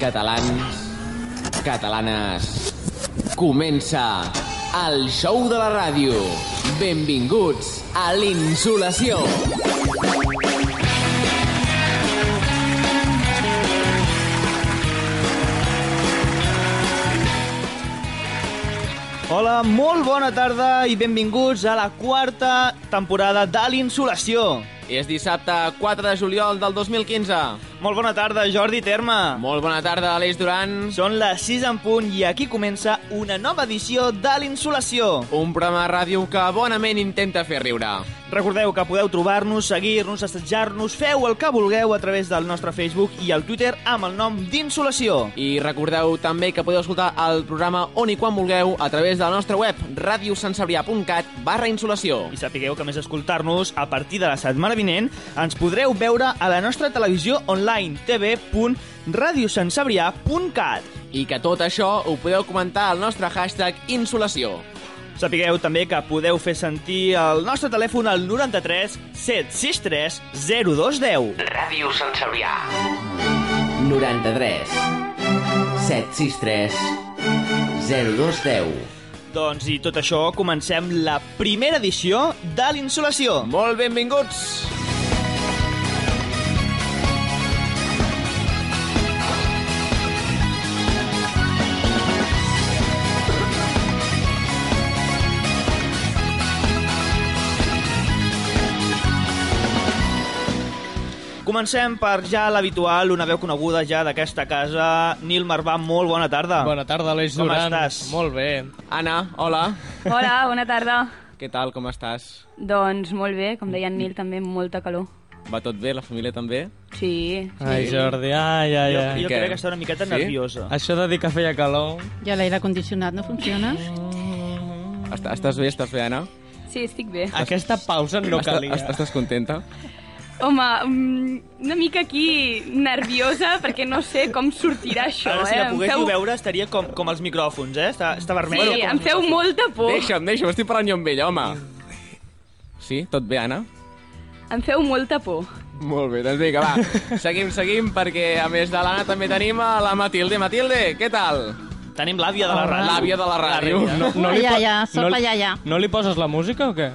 catalans, catalanes. Comença el show de la ràdio. Benvinguts a l'Insolació. Hola, molt bona tarda i benvinguts a la quarta temporada de l'Insolació. És dissabte 4 de juliol del 2015. Molt bona tarda, Jordi Terma. Molt bona tarda, Aleix Duran. Són les 6 en punt i aquí comença una nova edició de l'Insolació. Un programa de ràdio que bonament intenta fer riure. Recordeu que podeu trobar-nos, seguir-nos, assetjar-nos, feu el que vulgueu a través del nostre Facebook i el Twitter amb el nom d'Insolació. I recordeu també que podeu escoltar el programa on i quan vulgueu a través de la nostra web radiosansabrià.cat barra insolació. I sapigueu que a més d'escoltar-nos, a partir de la setmana vinent, ens podreu veure a la nostra televisió online tv.radiosansabrià.cat. I que tot això ho podeu comentar al nostre hashtag insolació. Sapigueu també que podeu fer sentir el nostre telèfon al 93 763 0210. Ràdio Sant Cebrià. 93 763 0210 Doncs i tot això, comencem la primera edició de l'Insolació. Molt benvinguts! Comencem per ja l'habitual, una veu coneguda ja d'aquesta casa, Nil Marvà, molt bona tarda. Bona tarda, Aleix Ah. Com Duran. estàs? Molt bé. Ana, hola. Hola, bona tarda. Què tal, com estàs? Doncs molt bé, com deia en Nil, també molta calor. Va tot bé, la família també? Sí, Ai, Jordi, ai, ai, Jo, ai. I jo què? crec que està una miqueta Sí? nerviosa. Això de dir que feia calor... Ja l'aire acondicionat no funciona? Està, estàs bé, estàs bé, Anna? sí, estic bé. Aquesta pausa no Està- calia. est- Estàs contenta? Home, mm, una mica aquí nerviosa perquè no sé com sortirà això, Ara, eh? si la Em poguéssiu feu- veure, estaria com, com els micròfons, eh? Està, està Sí, vermella. com em els feu micròfons. molta por. Deixa'm, deixa'm, estic parlant jo amb ell, home. Sí? Tot bé, Anna? Em feu molta por. Molt bé, doncs vinga, va. Seguim, seguim, perquè a més de l'Anna també tenim a la Matilde. Matilde, què tal? Tenim l'àvia de la ràdio. L'àvia de Ah, la ràdio. No, no li Ai, po- ai, ai, Ah, sopa, no, li- ai, ai. No li poses la música o què?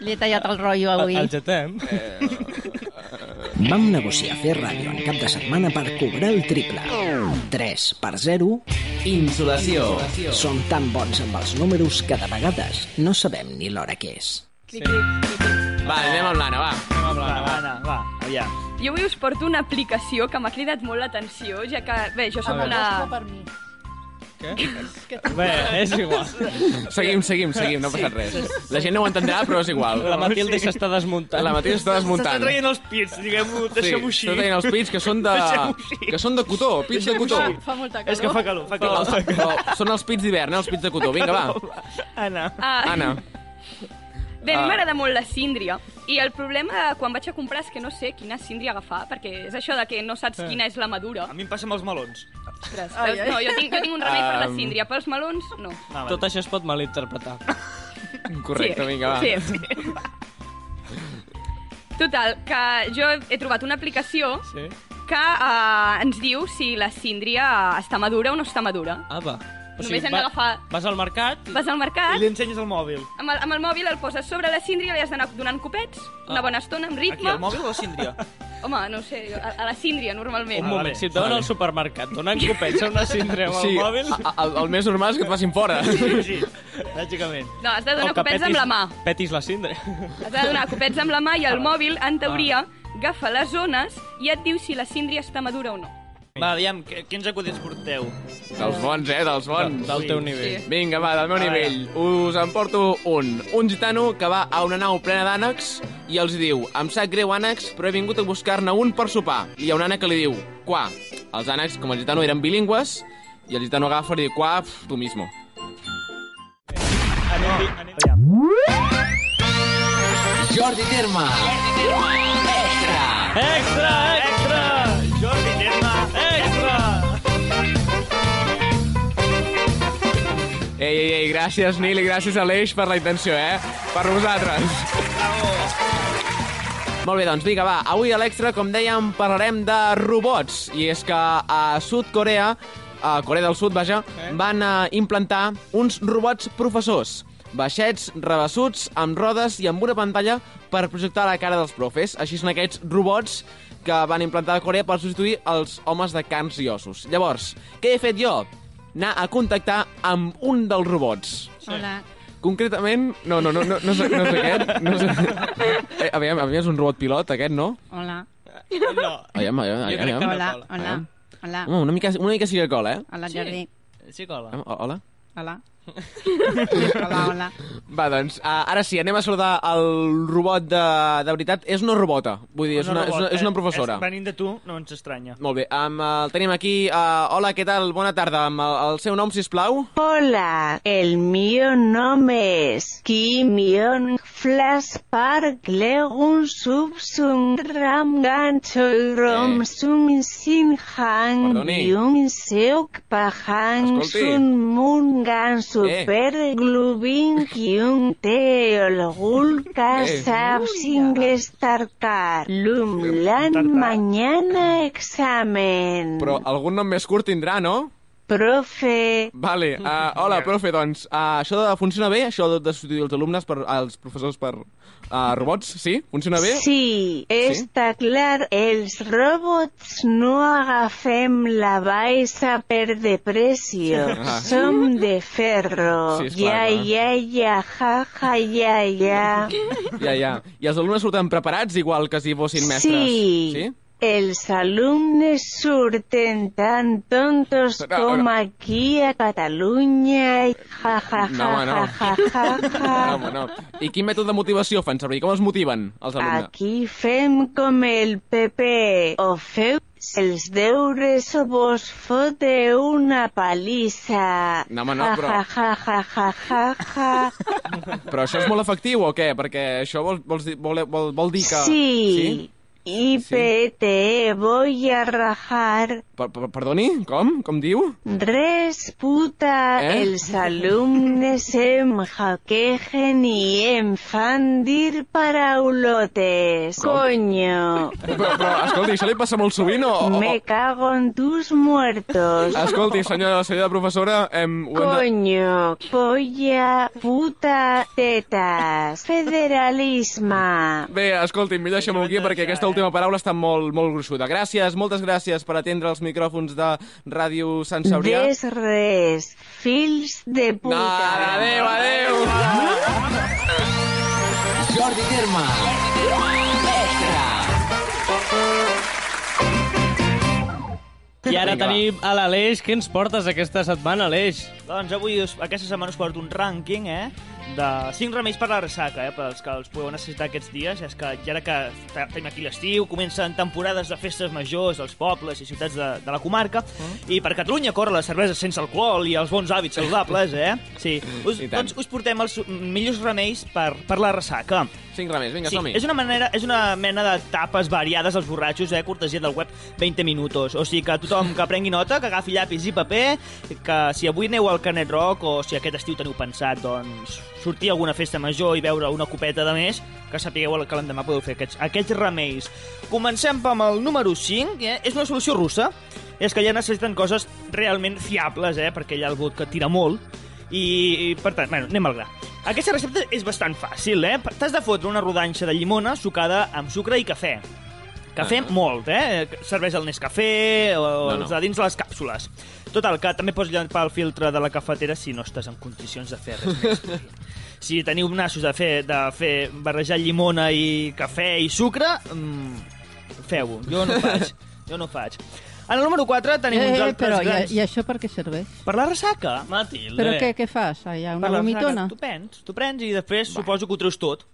Li he tallat el rotllo avui. El jetem. Vam negociar fer ràdio en cap de setmana per cobrar el triple. 3 per 0 Insolació. són tan bons amb els números que de vegades no sabem ni l'hora que és. Cric, cric. Va, anem amb l'Anna, va. Va, va, Anna, va, aviam. Jo avui us porto una aplicació que m'ha cridat molt l'atenció, ja que, bé, jo sóc veure. una... Bé, és igual. Seguim, seguim, seguim, no ha passat res. La gent no ho entendrà, però és igual. La Matilde s'està desmuntant. La Matilde està S'estan desmuntant. traient els pits, diguem-ho, deixem-ho sí, així. està traient els pits que són de... Deixem-ho així. que són de cotó, pits de cotó. Fa molta És que fa calor, fa Però, calor. però són els pits d'hivern, eh, els pits de cotó. Vinga, va. Anna. Ah, Anna. Bé, a Ah. mi m'agrada molt la síndria i el problema quan vaig a comprar és que no sé quina síndria agafar perquè és això de que no saps quina és la madura. A mi em passa amb els melons. Ostres, veus? No, jo tinc, jo tinc un remei per la Um. síndria, pels melons no. Ah, vale. Tot això es pot malinterpretar. Correcte, sí. vinga, va. Sí, sí. Total, que jo he trobat una aplicació Sí? que eh, ens diu si la síndria està madura o no està madura. Ah, va. Només hem d'agafar- Vas al mercat... Vas al I mercat, li ensenyes el mòbil. amb el, amb el mòbil el poses sobre la síndria, li has d'anar donant copets, una Ah. bona estona, amb Aquí, ritme. el mòbil o la síndria? Home, no ho sé, jo- a, a la síndria, normalment. Un Ah, moment, vale. si et donen al supermercat, donen copets a una síndria amb el Sí, mòbil... Ah, a- a- el, el més normal és que et facin fora. Sí, sí, lògicament. No, has de o donar que copets amb la mà. Petis la síndria. Has de donar copets amb la mà i el mòbil, Ah. en teoria, agafa les zones i et diu si la síndria està madura o no. Va, aviam, que- quins acudits porteu? Dels bons, eh, dels bons. Del teu nivell. Sí. Vinga, va, del meu A nivell. Us en porto un. Un gitano que va a una nau plena d'ànecs i els diu Em sap greu, ànecs, però he vingut a buscar-ne un per sopar. I hi ha un ànec que li diu Qua. Els ànecs, com el gitano, eren bilingües i el gitano agafa i li diu Qua, pf, tu mismo. Anem, vi- anem. Aviam. Jordi Terma. Extra. Extra, extra! Ah, Jordi, Gemma, Extra! Ei, ei, ei, gràcies, Nil, i gràcies, Aleix, per la intenció, eh? Per vosaltres. bravo. Molt bé, doncs vinga, va. Avui a l'Extra, com dèiem, parlarem de robots. I és que a Sud-Corea, a Corea del Sud, vaja, Eh? van eh, implantar uns robots professors. Baixets, rebessuts, amb rodes i amb una pantalla per projectar la cara dels profes. Així són aquests robots que van implantar a Corea per substituir els homes de carns i ossos. Llavors, què he fet jo? Anar a contactar amb un dels robots. Hola. Concretament... No, no, no, no, no, és, no és aquest. No és... Eh, aviam, aviam, és un robot pilot, aquest, no? Hola. No. Aviam, aviam, Jo crec aviam. que no. aviam. Hola. Hola. Hola. Hola. Mm. Home, una mica, una mica sí que cola, eh? Hola, Jordi. Sí, cola. Aviam, ho- Hola. Hola. Hola, hola. Va, doncs, uh, ara sí, anem a saludar el robot de, de veritat. És una robota, vull dir, és una, és una, és una professora. Venint eh? de tu, no ens estranya. Molt bé, um, el tenim aquí. Uh, hola, què tal? Bona tarda. Amb el, el seu nom, si plau. Hola, el mío nombre es Kimion Flash Park Legun Subsum Ram Gancho y Rom Eh. Sum Sin Han Perdoni. Yun Seok Pahan Escolti. Sun Mun Gan Eh. Super Glubin Kyun Teol Gul Eh. Kasab Single Starkar Lum Lan Mañana Examen Però algun nom més curt tindrà, no? Profe Vale, uh, hola, profe, doncs, uh, això de, funciona bé, això de, de substituir els alumnes per, els professors per uh, robots, sí? Funciona bé? Sí, està clar. Els robots no agafem la baixa per de pressió. Ah. Som de ferro. Sí, és ja, clar, ja, ja, ja, ja, ja, ja. Ja, ja. I els alumnes surten preparats igual que si fossin mestres? Sí. Sí? Els alumnes surten tan tontos No, com no. aquí a Catalunya. Ja, ja, ja, No, home, no. ja, ja, ja. No, Ah, home, no. I quin mètode de motivació fan servir? Com els motiven, els alumnes? Aquí fem com el PP. O feu els deures o vos foteu una pallissa. No, home, no, Ja, però- Ja, ja, ja, ja, ja, ja. Però això és molt efectiu o què? Perquè això vol, vols dir, vol, vol, vol dir que... Sí. IPT, voy a rajar. Per, per, perdoni? Com? Com diu? Res, puta, Eh? els alumnes em hackegen i em fan dir paraulotes. Com? Coño, Però, però escolti, això li passa molt sovint o... o- me cago en tus muertos. Escolti, senyora, senyora professora, em, ho hem de... Coño, polla, puta, tetas, federalisme. Bé, escolti, millor deixem-ho aquí perquè aquesta última paraula està molt, molt gruixuda. Gràcies, moltes gràcies per atendre els micròfons de Ràdio Sant Cebrià. Des res, fills de No, puta. adéu, adéu! Jordi Terma. Extra. I ara Vinga, va. tenim a l'Aleix. Què ens portes aquesta setmana, Aleix? Doncs avui, us, aquesta setmana us porto un rànquing, eh? De 5 remeis per la ressaca, eh? Per als que els podeu necessitar aquests dies. És que ja ara que te- tenim aquí l'estiu, comencen temporades de festes majors als pobles i ciutats de, de la comarca. Mm. I per Catalunya corre la cervesa sense alcohol i els bons hàbits saludables, eh? Sí. Us, Mm, I tant. doncs us portem els millors remeis per, per la ressaca. Cinc remeis, vinga, som-hi. Eh, és una, manera, és una mena de tapes variades als borratxos, eh? Cortesia del web 20 minutos. O sigui que tothom que prengui nota, que agafi llapis i paper, que si avui aneu al Canet Rock o si aquest estiu teniu pensat, doncs, sortir a alguna festa major i beure una copeta de més, que sapigueu que l'endemà podeu fer aquests, aquests remeis. Comencem amb el número 5, eh? És una solució russa. És que ja necessiten coses realment fiables, eh? Perquè hi ha el bot que tira molt. I, i per tant, bueno, anem al gra. Aquesta recepta és bastant fàcil, eh? T'has de fotre una rodanxa de llimona sucada amb sucre i cafè. Cafè Ah. molt, eh? Serveix el Nescafé o No, no. els de dins de les càpsules. Total, que també pots llampar el filtre de la cafetera si no estàs en condicions de fer res més. si teniu nassos de fer, de fer barrejar llimona i cafè i sucre, mm, feu-ho. Jo no ho faig. Jo no ho faig. En el número 4 tenim uns Eh, altres però i, grans... i això per què serveix? Per la ressaca? Matilde. Però què, què fas? Ah, Hi ha Per una la vomitona? ressaca, Tu prens, tu prens i després suposo que ho treus tot.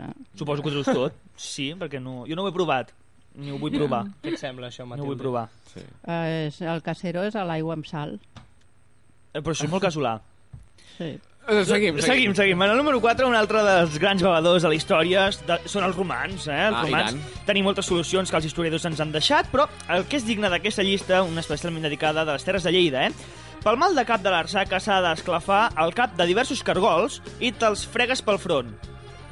Ah. Suposo que ho treus tot. Sí, perquè no, jo no ho he provat. Ni ho vull provar. Què et sembla, això, No Matilde? ho vull provar. Eh, és, el casero és a l'aigua amb sal. Eh, Però això és molt casolà. Sí. Eh, Seguim, Seguim, seguim. En el número 4, un altre dels grans bevedors de la història és de, són els romans. Eh? Els Ah, i romans tant. tenim moltes solucions que els historiadors ens han deixat, però el que és digne d'aquesta llista, una especialment dedicada de les Terres de Lleida, eh? Pel mal de cap de l'arsaca s'ha d'esclafar el cap de diversos cargols i te'ls fregues pel front.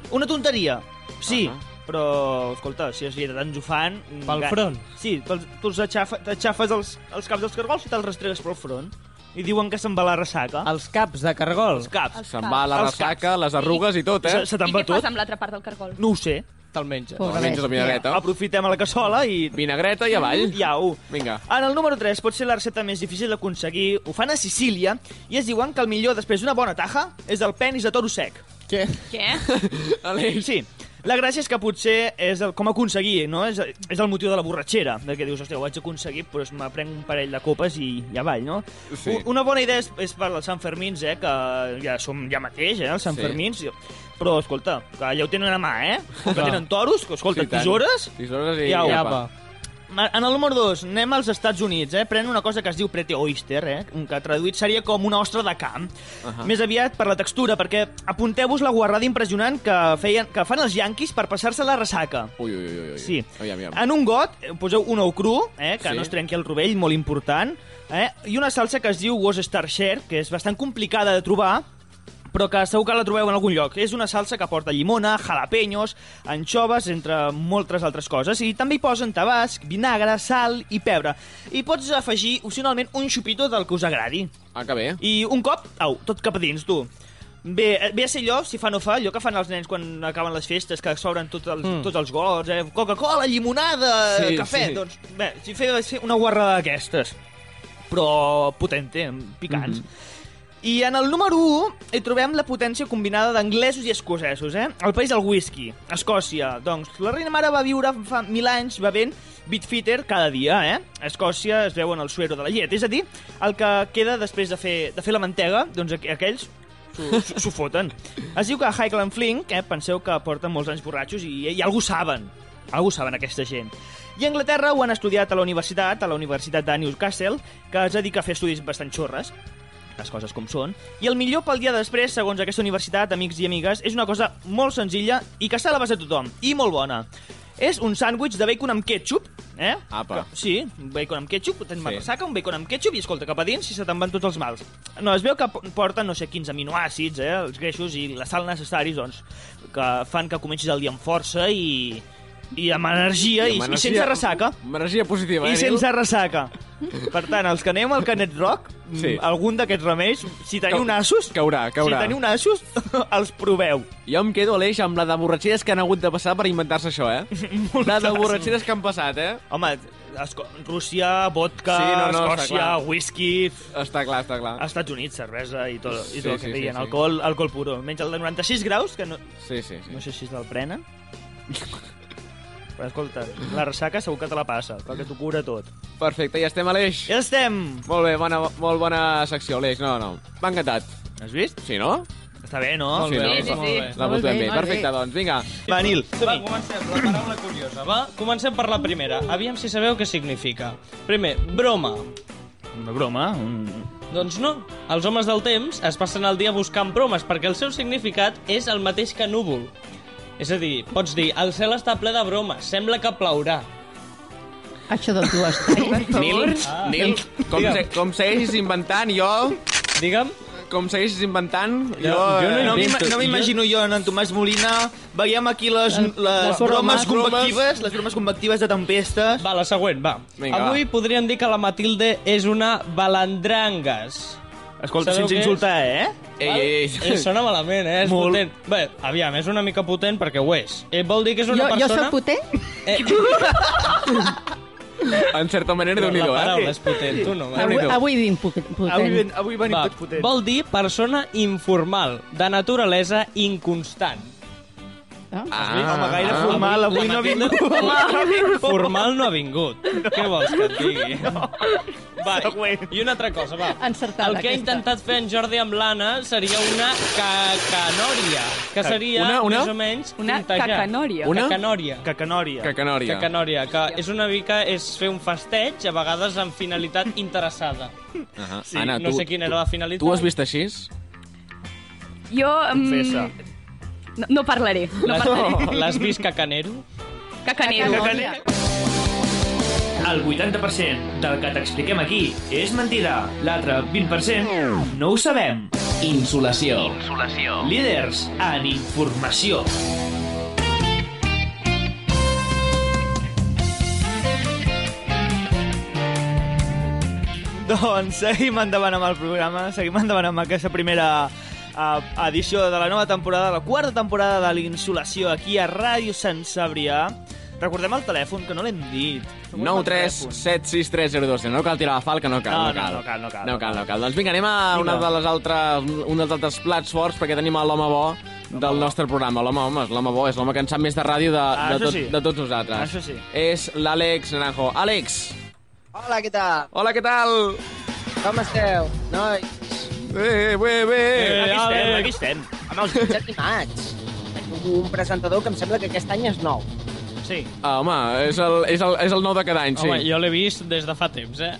Una tonteria, sí, Ah, uh -huh. però, escolta, si els lleidatans ho fan... mm, Pel ga- front. Sí, te'ls- tu els aixafa- t'aixafes els, els caps dels cargols i te'ls rastregues pel front. I diuen que se'n va la ressaca. Els caps de cargol. Els caps. Els Se'n caps. va la Els caps. ressaca, les arrugues i tot, eh? Se, se te'n I va què tot. fas amb l'altra part del cargol? No ho sé. Te'l menges. Pobre Menges la bèstia. vinagreta. Aprofitem a la cassola i... Vinagreta i avall. Iau. Vinga. En el número 3 pot ser la recepta més difícil d'aconseguir. Ho fan a Sicília i es diuen que el millor després d'una bona taja és el penis de toro sec. Què? Què? Aleix. Sí. La gràcia és que potser és el, com aconseguir, no? És, és el motiu de la borratxera, de que dius, hòstia, ho haig aconseguit, doncs m'aprenc un parell de copes i ja avall, no? Sí. U- Una bona idea és, és per als Sant Fermins, eh? Que ja som ja mateix, eh? Els Sant Sí. sí. Fermins. Però, escolta, que allà ho tenen a mà, eh? Que Clar. tenen toros, que, escolta, Sí, sí, tant. tisores... Tisores i Iau. apa. Iapa. Ma- En el número 2, anem als Estats Units, eh? Pren una cosa que es diu Prete Oyster, eh? Que traduït seria com una ostra de camp. Uh Ahà. -huh. Més aviat per la textura, perquè apunteu-vos la guarrada impressionant que, feien, que fan els yanquis per passar-se la ressaca. Ui, ui, ui, ui. Sí. Aviam, aviam. En un got eh, poseu un ou cru, eh, que Sí. sí. no es trenqui el rovell, molt important, eh, i una salsa que es diu Worcestershire, que és bastant complicada de trobar, però que segur que la trobeu en algun lloc. És una salsa que porta llimona, jalapenyos, anchoves, entre moltes altres coses, i també hi posen tabasc, vinagre, sal i pebre. I pots afegir, opcionalment, un xupito del que us agradi. Ah, que bé. I un cop, au, tot cap a dins, tu. Bé, eh, ve a ser allò, si fa no fa, allò que fan els nens quan acaben les festes, que s'obren tots, els, mm. tots els gots, eh? Coca-Cola, llimonada, Sí, sí, sí. cafè... Sí. Doncs, bé, si feia ser una guarrada d'aquestes, però potente, amb picants. Mm -hmm. I en el número 1 hi trobem la potència combinada d'anglesos i escocesos, eh? El país del whisky, Escòcia. Doncs la reina mare va viure fa mil anys bevent Bitfitter cada dia, eh? A Escòcia es veuen el suero de la llet, és a dir, el que queda després de fer, de fer la mantega, doncs aqu- aquells s'ho- s'ho s'ho foten. Es diu que a Highland Flink, eh, penseu que porten molts anys borratxos i, i algú saben, algú saben aquesta gent. I a Anglaterra ho han estudiat a la universitat, a la Universitat de Newcastle, que es dedica a fer estudis bastant xorres, les coses com són. I el millor pel dia després, segons aquesta universitat, amics i amigues, és una cosa molt senzilla i que està a la base de tothom, i molt bona. És un sàndwich de bacon amb ketchup, eh? Apa. Que, sí, un bacon amb ketchup, tens Sí. sí. marrassaca, un bacon amb ketchup i escolta, cap a dins i se te'n van tots els mals. No, es veu que po- porten, no sé, quins aminoàcids, eh, els greixos i la sal necessaris, doncs, que fan que comencis el dia amb força i, i amb energia i, i, i sense ressaca. Amb Energia positiva, eh, I Nil? sense ressaca. Per tant, els que anem al Canet Rock, Sí. sí. algun d'aquests remeis, si teniu Cau- nassos, Caurà, caurà. si teniu nassos, els proveu. Jo em quedo, Aleix, amb la de borratxeres que han hagut de passar per inventar-se això, eh? la de borratxeres que han passat, eh? Home, Esco Rússia, vodka, Sí, sí, no, no, no, està Escòcia, clar. whisky, Està clar, està clar. Estats Units, cervesa i tot, i Sí, tot el sí, sí, que deien, sí. alcohol, alcohol puro. Menys el de 96 graus, que no, Sí, sí, sí. no sé si te'l prenen. Però escolta, la ressaca segur que te la passa, perquè t'ho cura tot. Perfecte, ja estem, Aleix. Ja estem! Molt bé, bona, molt bona secció, Aleix. No, no, m'ha encantat. Has vist? Sí, no? Està bé, no? Sí, no? sí, sí. La Molt votem bé, bé. molt Perfecte, doncs, vinga. Va, Nil, Va, som-hi. comencem. La paraula curiosa, va? Comencem per la primera. Aviam si sabeu què significa. Primer, broma. Una broma, un, Doncs no. Els homes del temps es passen el dia buscant bromes perquè el seu significat és el mateix que núvol. És a dir, pots dir, el cel està ple de bromes, sembla que plourà. Això del tu espai, per Nil, favor. Nil, com, se, com segueixis inventant, jo... Digue'm, Com segueixis inventant, jo... jo no eh, No, m'ima- Invento. no m'imagino jo en, en Tomàs Molina veiem aquí les, les, les les bromes. bromes convectives les bromes convectives de tempestes va, la següent, va. Vinga, Avui va. podríem dir que la Matilde és una balandrangues. escolta, Sabeu sense què és? insultar, eh? Ei, ei, Eh, ei. sona malament, eh? És Molt. potent. Bé, aviam, és una mica potent perquè ho és. Eh, vol dir que és Jo, una jo persona... Eh, sóc potent? En certa manera, La Déu-n'hi-do, eh? paraula és potent, tu no. eh? Avui, Déu-n'hi-do. avui vinc poc- potent. Avui, ven- avui venim Va, tots potents vol dir persona informal, de naturalesa inconstant. No? Ah, home, gaire ah. formal avui La no ha Matilde- vingut Home, Formal no ha vingut. Què vols que et digui? Va, i, Següent. i una altra cosa, va. Encertada, El que ha aquesta. intentat fer en Jordi amb l'Anna seria una cacanòria, que seria Una- una? més o menys Una tintejar. cacanòria. Una? Cacanòria. Cacanòria Cacanòria. Cacanòria, que és una mica és fer un festeig, a vegades amb finalitat interessada. Ah, Sí, no sé quina era la finalitat. Tu has vist així? Jo... Confessa. Mm, no, no parlaré, no L'has parlaré. l'has vist cacanero? Cacanero. Cacanero. Mm. el 80% del que t'expliquem aquí és mentida l'altre 20% no ho sabem Insolació Líders en informació Doncs seguim endavant amb el programa, seguim endavant amb aquesta primera eh, edició de la nova temporada, la quarta temporada de l'Insolació, aquí a Ràdio Sant Sabrià. Recordem el telèfon, que no l'hem dit. Recordem el telèfon. 9376302. No cal tirar la falca, no cal, no, No, no, cal. no cal, no cal. No cal, no cal. Doncs vinga, anem a una Vinga. de les altres, un dels altres plats forts, perquè tenim a l'home bo del nostre programa. L'home, home, és l'home bo, és l'home que en sap més de ràdio de, Ah, de, això tot, sí. de tots nosaltres. Això sí. És l'Àlex Naranjo. Àlex, Hola, què tal? hola, què tal? Com esteu? Noi, Bé, bé, bé. Eh, aquí estem, Àlex. aquí estem. amb els mitjans animats. Un presentador que em sembla que aquest any és nou. Sí. Ah, home, és el, és, el, és el nou de cada any, sí. Home, jo l'he vist des de fa temps, eh?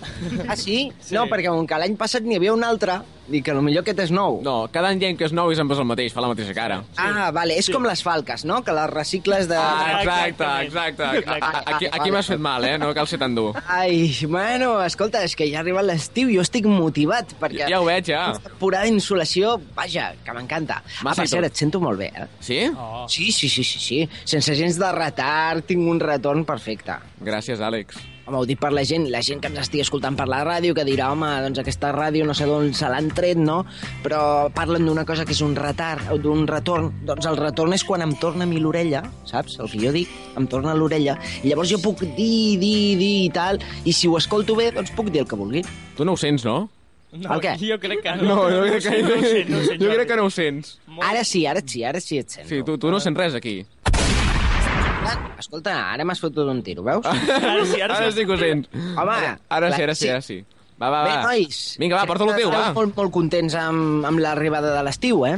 Ah, sí? Sí. sí. No, perquè com que l'any passat n'hi havia un altre, dic que potser aquest és nou. No, cada any diem que és nou i sempre és el mateix, fa la mateixa cara. Ah, vale, és com les falques, no? Que les recicles de... Ah, exacte, exactament. exacte. Exacte. A- a- Aquí, aquí m'has fet mal, eh? No cal ser tan dur. Ai, bueno, escolta, és que ja ha arribat l'estiu i jo estic motivat, perquè... Ja ho veig, ja. Aquesta temporada d'insolació, vaja, que m'encanta. Ah, Massa i per tot. cert, et sento molt bé, eh? Sí? Oh. Sí, sí, sí, sí, sí. Sense gens de retard, tinc un retorn perfecte. Gràcies, Àlex. Home, ho dic per la gent, la gent que ens estigui escoltant per la ràdio, que dirà, home, doncs aquesta ràdio no sé d'on se l'han tret, no? Però parlen d'una cosa que és un retard, o d'un retorn. Doncs el retorn és quan em torna a mi l'orella, saps? El que jo dic, em torna a l'orella. I llavors jo puc dir, dir, dir i tal, i si ho escolto bé, doncs puc dir el que vulgui. Tu no ho sents, no? No, El què? Jo crec que no. No, jo crec que no ho sent, no ho sent, jo Jordi. crec que no ho sents. Ara sí, ara sí, ara sí et sento. Sí, tu, tu no sents res aquí. Escolta, ara m'has fotut un tiro, veus? Ara sí, ara sí. Ara Ah, sí que ho sents. Home, Ara sí, clar ara que sí, ara sí. Va, va, Bé, va. nois. Ah, Vinga, va, porta el teu, Esteu va. Molt, molt contents amb, amb l'arribada de l'estiu, eh?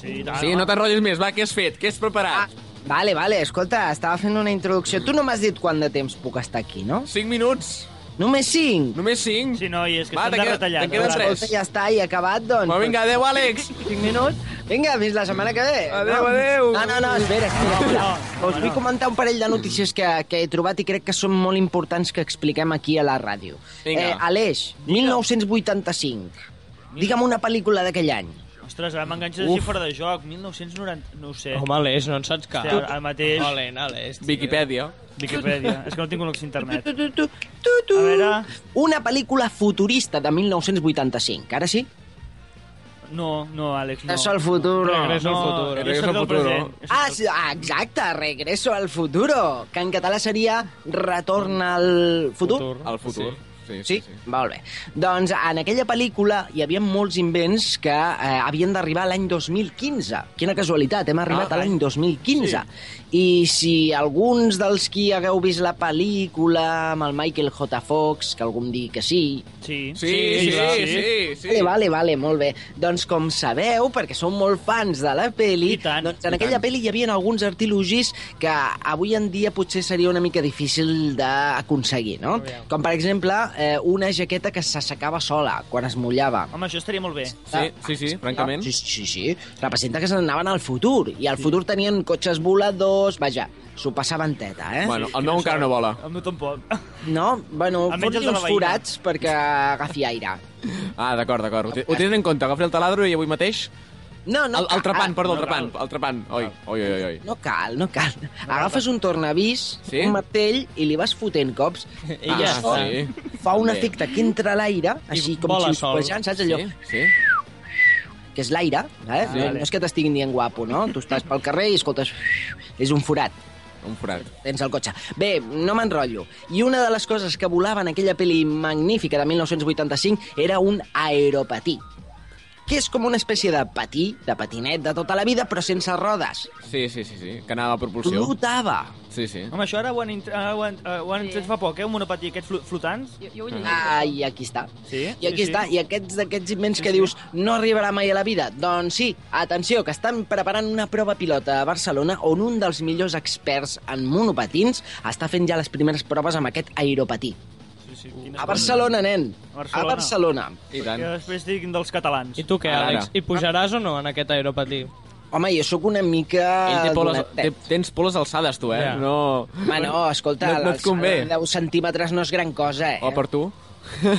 sí i tant, Sí, home. no t'enrotllis més. Va, què has fet? Què has preparat? Vale, vale, escolta, estava fent una introducció. Tu no m'has dit quant de temps puc estar aquí, no? 5 minuts. Només 5? Només 5. Sí, no, i és que Va, te estem de eh? queda- retallar. te queden no? tres. ja està, i acabat, doncs. Va, vinga, adeu, Àlex. 5 minuts. Vinga, fins la setmana que ve. Adeu, no? adeu. No, no, no, espera, espera. No, espera. no, no, Us vull no. comentar un parell de notícies que, que he trobat i crec que són molt importants que expliquem aquí a la ràdio. Eh, Vinga. Aleix, 1985. Digue'm una pel·lícula d'aquell any. Ostres, ara m'enganxes així fora de joc. 1990... No ho sé. Home, Aleix, no en saps cap. Hòstia, ara mateix- Olen, Aleix. tio. Viquipèdia. Wikipedia. És que no tinc un a internet. Tu, tu, tu, tu. A veure... Una pel·lícula futurista de 1985. Ara sí? No, no, Àlex, no. És el futur. Regreso al futuro. jo Regreso soc al del futuro. present. Ah, sí, ah, exacte, Regreso al futuro, que en català seria Retorn al futur. futur. Al futur. Sí, Sí? sí, molt bé. Doncs en aquella pel·lícula hi havia molts invents que eh, havien d'arribar a l'any 2015. Quina casualitat, hem arribat Ah, a l'any 2015. I si alguns dels qui hagueu vist la pel·lícula amb el Michael J. Fox, que algun dir que sí, Sí. Sí, sí, sí, sí. sí. Vale, vale, vale, molt bé. Doncs com sabeu, perquè som molt fans de la peli, I tant, doncs i en aquella tant. peli hi havia alguns artilogis que avui en dia potser seria una mica difícil d'aconseguir, no? Aviam. Com, per exemple, eh, una jaqueta que s'assecava sola quan es mullava. Home, això estaria molt bé. Sí, sí, sí, francament. Sí, sí, sí, sí. Representa que s'anaven al futur, i al futur tenien cotxes voladors... Vaja, s'ho passaven teta, eh? Bueno, el meu encara no vola. Amb mi tampoc. No? Bueno, Almenys els fot-li de la uns veïna. forats perquè agafi aire. Ah, d'acord, d'acord. Ho ti- Ho tindré en compte. Agafaré el taladro i avui mateix... No, no... El, el trepant, ah, perdó, el trepant. El trepant. Oi, oi, oi, oi. No cal, no cal. Agafes un tornavís, Sí? sí? un martell i li vas fotent cops. I ja ah, està. sí. Fa un També. efecte que entra a l'aire, així com vola sol. xiuspejant, saps allò? Sí, sí. Sí. Que és l'aire, eh? Sí. Sí. No és que t'estiguin dient guapo, no? Tu estàs pel carrer i escoltes... És un forat, Un forat. tens el cotxe. Bé, no m'enrotllo. I una de les coses que volava en aquella pel·li magnífica de 1985 era un aeropatí que és com una espècie de patí, de patinet de tota la vida, però sense rodes. Sí, sí, sí, sí. Que anava a propulsió. Flotava. Sí, sí. Home, això ara ho han, int- ara ho han, eh, ho han Sí. tret fa poc, eh? Un monopatí, aquests flu- flotants. Jo, jo ho Mm. llegeixo. Ah, i aquí està. Sí, I sí, aquí sí. està. I aquests d'aquests invents que dius no arribarà mai a la vida. Doncs sí, atenció, que estan preparant una prova pilota a Barcelona on un dels millors experts en monopatins està fent ja les primeres proves amb aquest aeropatí. Sí, sí, quina A Barcelona, nen. eh? A A Barcelona. Barcelona. I cosa. tant. Que després diguin dels catalans. I tu què, Ara, Àlex? ara. Hi pujaràs o no en aquest aeropatí? Home, jo sóc una mica... Ell té por les, té, donatet. tens por les alçades, tu, eh? Ja. No... Home, no, escolta, No- no et l'alçada convé. de 10 centímetres no és gran cosa, eh? O per tu?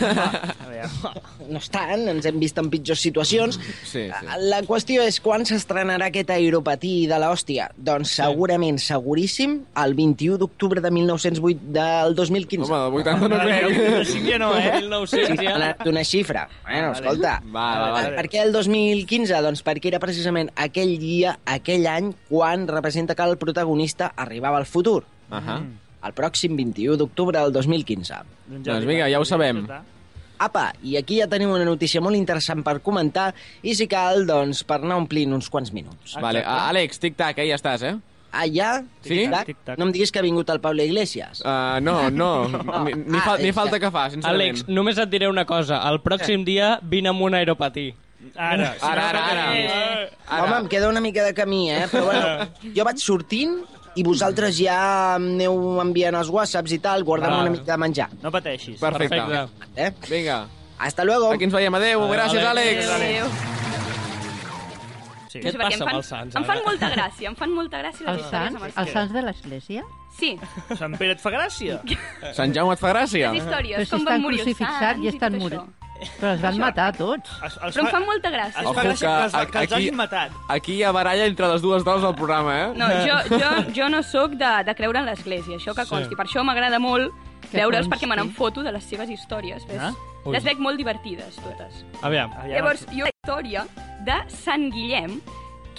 A veure. No és tant, ens hem vist en pitjors situacions. Sí, sí. Eh, La qüestió és quan s'estrenarà aquest aeropatí de l'hòstia? Doncs segurament, seguríssim, el 21 d'octubre de 1908 del 2015. Home, del 80 no crec. Sí que no, eh? 1900 Sí, ha ja. anat una xifra. Bueno, escolta. Eh, Va, va, va. Per què el 2015? Doncs perquè era precisament aquell dia, aquell any, quan representa que el protagonista arribava al futur. Ahà. El pròxim 21 d'octubre del 2015. Doncs vinga, ja ho sabem. Apa, i aquí ja tenim una notícia molt interessant per comentar i si cal, doncs, per anar omplint uns quants minuts. Vale. Ah, Àlex, tic-tac, eh? Ja estàs, eh? Ah, ja? Sí? Tic-tac? Tic-tac. No em diguis que ha vingut el Pablo Iglesias. Uh, no, no. Ni, ni, fal, ni falta que fa, sincerament. Àlex, només et diré una cosa. El pròxim dia vine amb un aeropatí. Ara, Ara, si no, ara, ara. eh, Ara. Home, em queda una mica de camí, eh? Però bueno, jo vaig sortint i vosaltres ja em aneu enviant els whatsapps i tal, guardant Clar. una mica de menjar. No pateixis. Perfecte. Perfecte. Eh? Vinga, Hasta luego. aquí ens veiem. Adéu, gràcies, Àlex. Adéu. Sí. Què et No sé per passa em fan, amb els sants, Em fan ara? molta gràcia, em fan molta gràcia les Els històries sants, amb els els sants de l'església? Sí, Sant Pere et fa gràcia? Sant Jaume et fa gràcia? les històries, Però si com van estan morir els crucificat sants i estan tot morit. això. Però els van matar a tots. Es, els Però em fan molta gràcia. Es Ojo fa gràcia que, els, que que els aquí- hagin matat. Aquí hi ha baralla entre les dues dones del programa, eh? No, jo, jo, jo no sóc de, de creure en l'Església, això que consti. Per això m'agrada molt Que veure'ls consti. perquè me n'enfoto de les seves històries. Ves? Ah, ui. Les veig molt divertides, totes. Aviam. Aviam. Llavors, jo la història de Sant Guillem,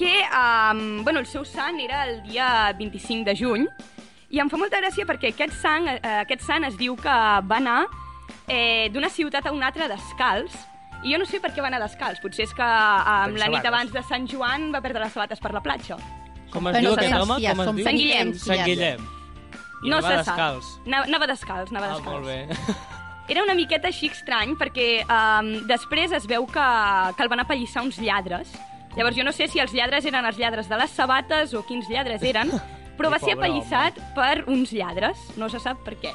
que um, bueno, el seu sant era el dia 25 de juny, i em fa molta gràcia perquè aquest sant, eh, aquest sant es diu que va anar eh, d'una ciutat a una altra descalç, i jo no sé per què va anar descalç, potser és que um, la sabates. nit abans de Sant Joan va perdre les sabates per la platja. Com es Però diu no aquest saps home? si ja Com es som diu? Sant Guillem. Sant Guillem. I no va se descalç. sap. Anava- Anava descalç, anava Ah, descalç. molt bé. Era una miqueta així estrany perquè um, després es veu que, que el van apallissar uns lladres. Llavors jo no sé si els lladres eren els lladres de les sabates o quins lladres eren, però va ser Pobre apallissat per uns lladres, no se sap per què.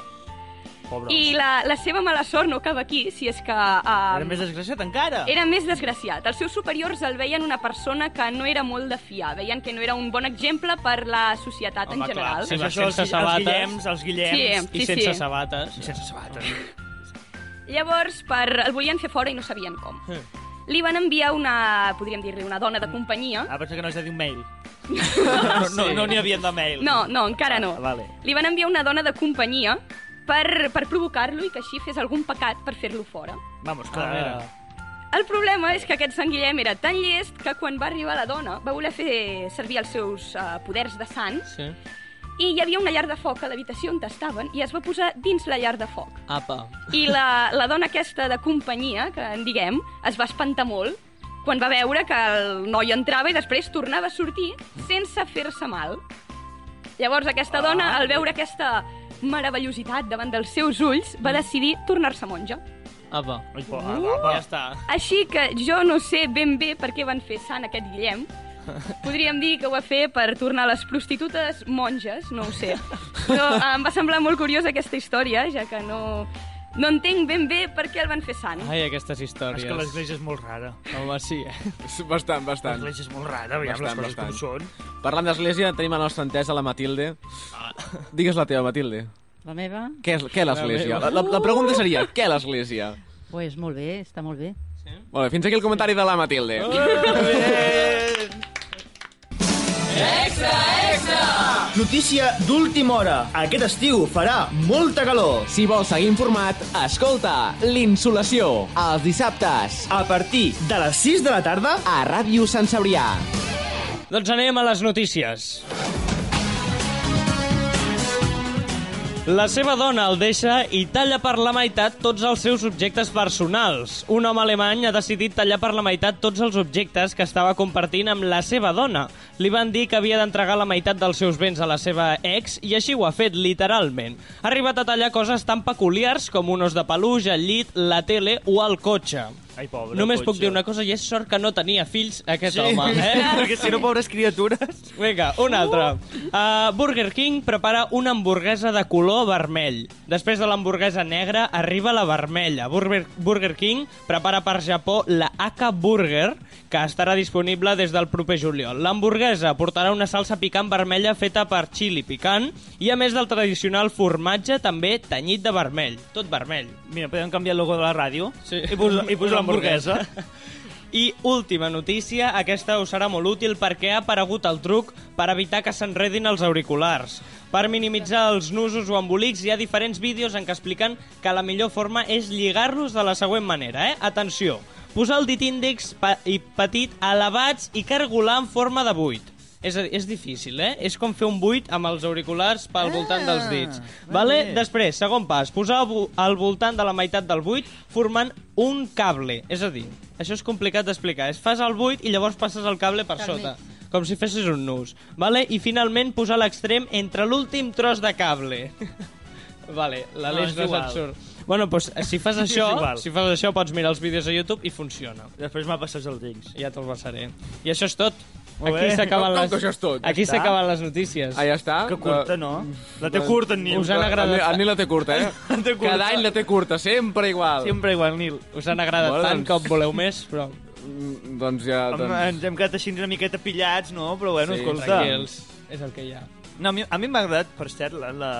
Pobre I home. la, la seva mala sort no acaba aquí, si és que... Um, Era més desgraciat encara. era més desgraciat. Els seus superiors el veien una persona que no era molt de fiar. Veien que no era un bon exemple per la societat Home, en clar, general. sí, És va, això, els, sense els sabates. Guillems, els Guillems... Sí, I sense sí. sabates. Sense sabates. Llavors, per... el volien fer fora i no sabien com. Hm. Li van enviar una, podríem dir-li, una dona de companyia. Ah, pensa que no has de dir un mail. No, no, no n'hi havien de mail. No, no, encara no. Ah, vale. Li van enviar una dona de companyia per, per provocar-lo i que així fes algun pecat per fer-lo fora. Vamos, Ah, clar, era. El problema és que aquest Sant Guillem era tan llest que quan va arribar la dona va voler fer servir els seus uh, poders de sants sí. i hi havia una llar de foc a l'habitació on estaven i es va posar dins la llar de foc. Apa. I la, la dona aquesta de companyia, que en diguem, es va espantar molt quan va veure que el noi entrava i després tornava a sortir sense fer-se mal. Llavors aquesta dona, al veure aquesta meravellositat davant dels seus ulls, va decidir tornar-se monja. Apa. Ai, Uh. po- ah, va, va. Ja està. Així que jo no sé ben bé per què van fer sant aquest Guillem. Podríem dir que ho va fer per tornar les prostitutes monges, no ho sé. Però eh, em va semblar molt curiosa aquesta història, ja que no, no entenc ben bé per què el van fer sant. Ai, aquestes històries. És que l'església és molt rara. Home, sí, eh? Bastant, bastant. L'església és molt rara, aviam les Bastant, coses com són. Parlant d'església, tenim la nostra entesa, la Matilde. Ah. Digues la teva, Matilde. La meva? Què és, què és l'església? La, la, la pregunta seria, què és l'església? Pues molt bé, està molt bé. Molt bé, fins aquí el comentari de la Matilde. Notícia d'última hora. Aquest estiu farà molta calor. Si vols seguir informat, escolta l'Insolació, els dissabtes, A partir de les 6 de la tarda... a Ràdio Sant Cebrià. Doncs anem a les notícies. La seva dona el deixa i talla per la meitat tots els seus objectes personals. Un home alemany ha decidit tallar per la meitat tots els objectes que estava compartint amb la seva dona. Li van dir que havia d'entregar la meitat dels seus béns a la seva ex i així ho ha fet, literalment. Ha arribat a tallar coses tan peculiars com un os de peluix, el llit, la tele o el cotxe. Ai, pobre. Només puc dir una cosa, i és sort que no tenia fills aquest home. Eh? Eh? Perquè si no, pobres criatures... Vinga, un altre. Uh, Burger King prepara una hamburguesa de color vermell. Després de l'hamburguesa negra arriba la vermella. Burger, Burger King prepara per Japó la Aka Burger, que estarà disponible des del proper juliol. L'hamburguesa portarà una salsa picant vermella feta per xili picant i, a més del tradicional formatge, també tanyit de vermell. Tot vermell. Mira, podem canviar el logo de la ràdio Sí. i posar, i posar Una l'hamburguesa. I última notícia, aquesta us serà molt útil perquè ha aparegut el truc per evitar que s'enredin els auriculars. Per minimitzar els nusos o embolics hi ha diferents vídeos en què expliquen que la millor forma és lligar-los de la següent manera, eh? Atenció, posar el dit índex pa i petit elevats i cargolar en forma de buit. És, a dir, és difícil, eh? És com fer un buit amb els auriculars pel voltant dels dits. Vale? Després, segon pas, posar al vo- al voltant de la meitat del buit formant un cable. És a dir, això és complicat d'explicar. És fas el buit i llavors passes el cable per sota. Com si fessis un nus. Vale? I finalment posar l'extrem entre l'últim tros de cable. vale, l'Aleix és no, no igual. se'n surt. Bueno, doncs, si fas És això, igual. si fas això pots mirar els vídeos a YouTube i funciona. Després m'ha passat els links. Ja te'l passaré. I això és tot. Molt Aquí bé. s'acaben Com- com les... que això és tot? Ja Aquí està? s'acaben les notícies. Ah, ja està. Que curta, no? mm. La té curta, en Nil. Us han agradat- El, Nil- el Nil la té curta, eh? La té curta. Cada any la té curta, sempre igual. Sempre igual, Nil. Us han agradat Bueno, tant doncs- com voleu més, però... Mm, Doncs ja... Home, Doncs... Ens hem quedat així una miqueta pillats, no? Però bueno, Sí, escolta... Tranquils, és el que hi ha. No, a mi, a mi m'ha agradat, per cert, la, la,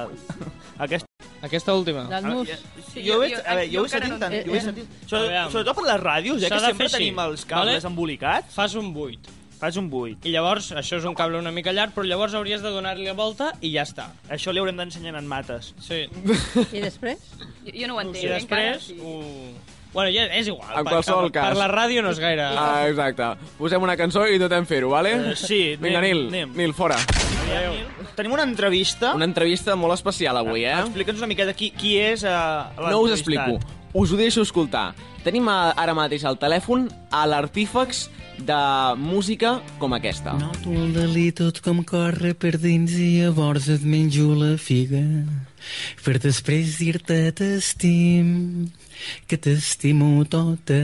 aquesta... Ah, Aquesta última. Del nus. Sí, jo, jo- ho he, jo- a veure, jo ho he encara sentit no tant, entenc. jo ho he Eh, sentit... Aviam. Sobre- Sobretot per les ràdios, eh, S'ha que de sempre fer així, tenim els cables vale? embolicats. Fas un buit. Fas un buit. I llavors, això és un cable una mica llarg, però llavors hauries de donar-li la volta i ja està. Això li haurem d'ensenyar en mates. Sí. I després? Jo, jo no ho entenc. I encara, després... sí. Uh... Bueno, ja és igual. En per- qualsevol per, cas. Per la ràdio no és gaire... Ah, exacte. Posem una cançó i intentem fer-ho, vale? Eh, sí, Vinga, anem, Nil, anem. Nil, fora. Tenim una entrevista. Ah. Una entrevista molt especial avui, eh? Explica'ns una miqueta qui, qui és eh, l'entrevistat. No us explico. Us ho deixo escoltar. Tenim a, ara mateix al telèfon a l'artífex de música com aquesta. Noto el delí tot com corre per dins i llavors et menjo la figa per després dir-te t'estim que t'estimo tota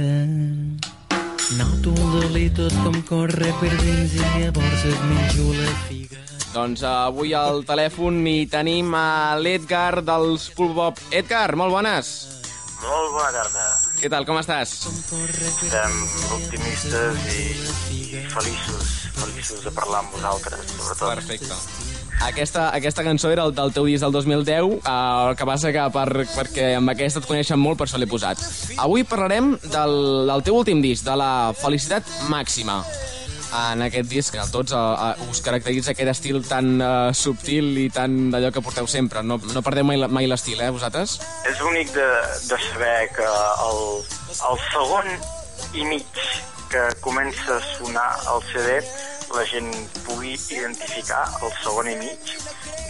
Noto el delí tot com corre per dins i llavors et menjo la figa Doncs eh, avui al telèfon hi tenim a l'Edgar dels Pulp Bob. Edgar, molt bones. Molt bona tarda. Què tal, com estàs? Estem optimistes i, i feliços, feliços de parlar amb vosaltres, sobretot. Perfecte. Aquesta, aquesta cançó era el del teu disc del 2010, eh, el que passa que per, perquè amb aquesta et coneixen molt, per això l'he posat. Avui parlarem del, del teu últim disc, de la felicitat màxima. En aquest disc, a tots eh, eh, us caracteritza aquest estil tan eh, subtil i tan d'allò que porteu sempre. No, no perdeu mai, la- mai l'estil, eh, vosaltres? És bonic de, de saber que el, el segon i mig que comença a sonar el CD la gent pugui identificar el segon i mig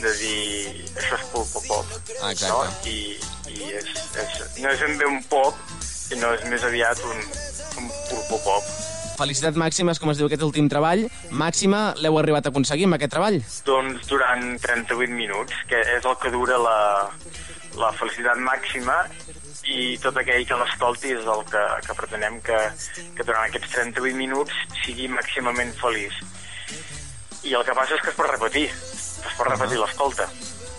de dir això és pop pop pop Ah, Exacte. no? i, i és, és, no és ben bé un pop sinó és més aviat un, un pop pop pop Felicitat màxima és com es diu aquest últim treball. Màxima l'heu arribat a aconseguir amb aquest treball? Doncs durant 38 minuts, que és el que dura la, la felicitat màxima i tot aquell que l'escolti és el que, que pretenem que, que durant aquests 38 minuts sigui màximament feliç. I el que passa és que es pot repetir, es pot repetir l'escolta.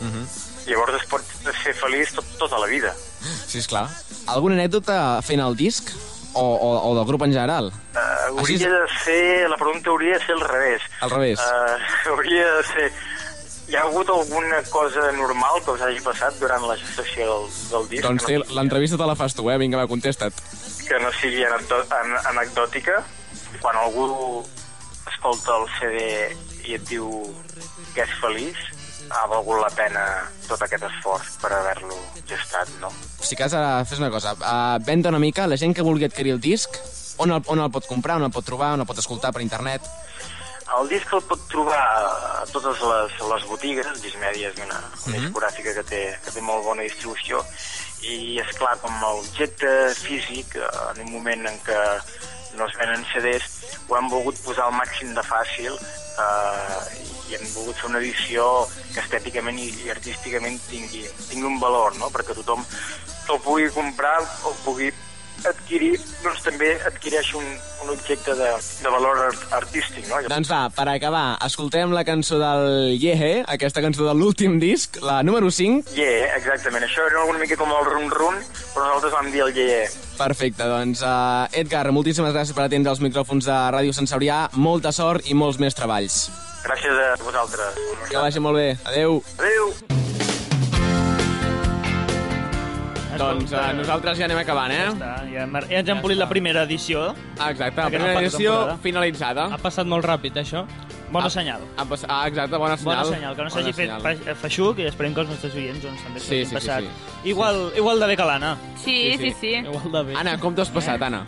Llavors es pot ser feliç tot, tota la vida. Sí, és clar. Alguna anècdota fent el disc? O, o, o del grup en general? Uh, Així és- hauria de ser... La pregunta hauria de ser al revés. Al revés. Uh, hauria de ser... Hi ha hagut alguna cosa normal que us hagi passat durant la gestació del, del disc? Doncs té, que, no sigui, l'entrevista te la fas tu, eh? Vinga, va, contesta't. que no sigui anecdò- an anecdòtica. Quan algú escolta el CD i et diu que és feliç, ha valgut la pena tot aquest esforç per haver-lo gestat, no? Si cas, ara fes una cosa. Uh, Venda una mica, la gent que vulgui adquirir el disc, on el, on el pot comprar, on el pot trobar, on el pot escoltar per internet? El disc el pot trobar a totes les, les botigues, Dismedia és una, una mm -hmm. discogràfica que té, que té molt bona distribució, i és clar, com a objecte físic, eh, en un moment en què no es venen CDs, ho hem volgut posar al màxim de fàcil eh, i hem volgut fer una edició que estèticament i, i artísticament tingui, tingui un valor, no? perquè tothom el pugui comprar o pugui adquirir, doncs també adquireix un, un objecte de, de valor art- artístic, no? Doncs va, per acabar, escoltem la cançó del Yehe, aquesta cançó de l'últim disc, la número 5. Yeah, exactament. Això era una mica com el run-run, però nosaltres vam dir el yeah. Perfecte, doncs uh, Edgar, moltíssimes gràcies per atendre els micròfons de Ràdio Sant Cebrià, molta sort i molts més treballs. Gràcies a vosaltres. Que vagi molt bé, adeu. Adéu. eh, Doncs uh, nosaltres ja anem acabant, eh? Ja, està, ja, hem- ja ens hem polit la primera edició. Exacte, la Aquesta primera edició temporada. finalitzada. Ha passat molt ràpid, això. Bon senyal. Ha pas... Ah, exacte, bona senyal. Bona senyal, que no s'hagi Bona fet senyal. fa- feixuc i esperem que els nostres oients doncs, també Sí, s'hagin sí, sí, passat. sí. Igual, igual de bé que l'Anna. Sí, sí, sí. Igual de bé. Anna, com t'ho has passat, Anna?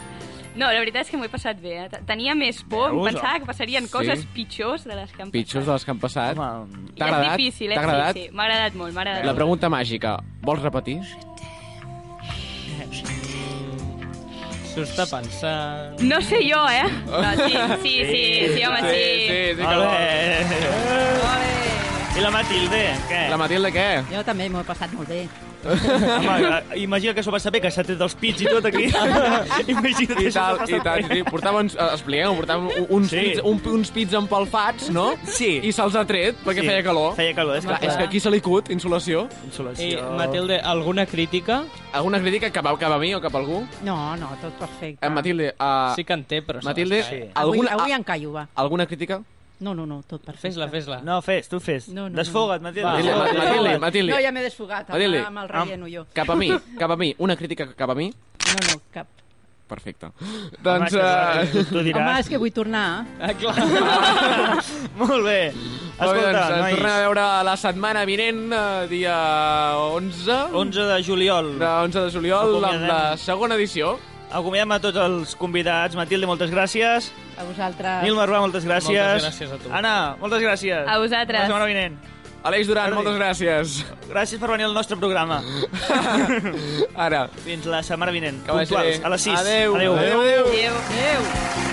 No, la veritat és que m'ho he passat bé. Eh? T- Tenia més por, em Veus? pensava que passarien Sí. coses pitjors de les que em Pitjors de les que han passat. I T'ha és agradat? difícil, eh? T'ha agradat? Sí, sí, m'ha agradat molt, m'ha agradat La pregunta màgica, vols repetir? S'ho està pensant... No sé jo, eh? No, sí, sí, sí, sí, home, sí. Ole. I la Matilde, què? La Matilde, què? Jo també m'ho he passat molt bé. Home, eh, imagina que s'ho va saber, que s'ha tret els pits i tot aquí. Imagina't I això tal, s'ha i passat tal. bé. Sí, portàvem, eh, expliquem, portàvem u- uns, Sí. sí. pits, un, uns pits empalfats, no? Sí. I se'ls ha tret perquè Sí. sí. feia calor. Feia calor, és Clar, clar. és que aquí se li cut, insolació. I, Insolació. Eh, Matilde, alguna crítica? Alguna crítica cap a, cap a mi o cap a algú? No, no, tot perfecte. Eh, Matilde, uh, Sí que en té, però... se Matilde, les sí. calla. alguna, Ah. avui, avui a- en callo, va. alguna crítica? No, no, no, tot perfecte. Fes-la, fes-la. No, fes, tu fes. No, no, Desfoga't, no. Matilde. Va, Matilde, desfoga't. Matilde, Matilde. No, ja m'he desfogat, amb, Matilde. Ah. amb el relleno jo. Cap a mi, cap a mi. Una crítica cap a mi? No, no, cap. Perfecte. doncs... clar, eh, tu diràs. Home, és que vull tornar. Ah, clar. Molt bé. Molt bé, Escolta, doncs, ens nois. tornem a veure la setmana vinent, eh, dia 11... 11 de juliol. De 11 Doncs, de juliol, amb la Acomiadem. segona edició. Acomiadem a tots els convidats. Matilde, moltes gràcies. A vosaltres. Nil Marrà, moltes gràcies. Moltes gràcies a tu. Anna, moltes gràcies. A vosaltres. La setmana vinent. Aleix Duran, moltes gràcies. Gràcies per venir al nostre programa. Ara. Fins la setmana vinent. vagi Puntuals, bé. a les 6. Adéu. Adéu. Adéu, adéu. Adéu.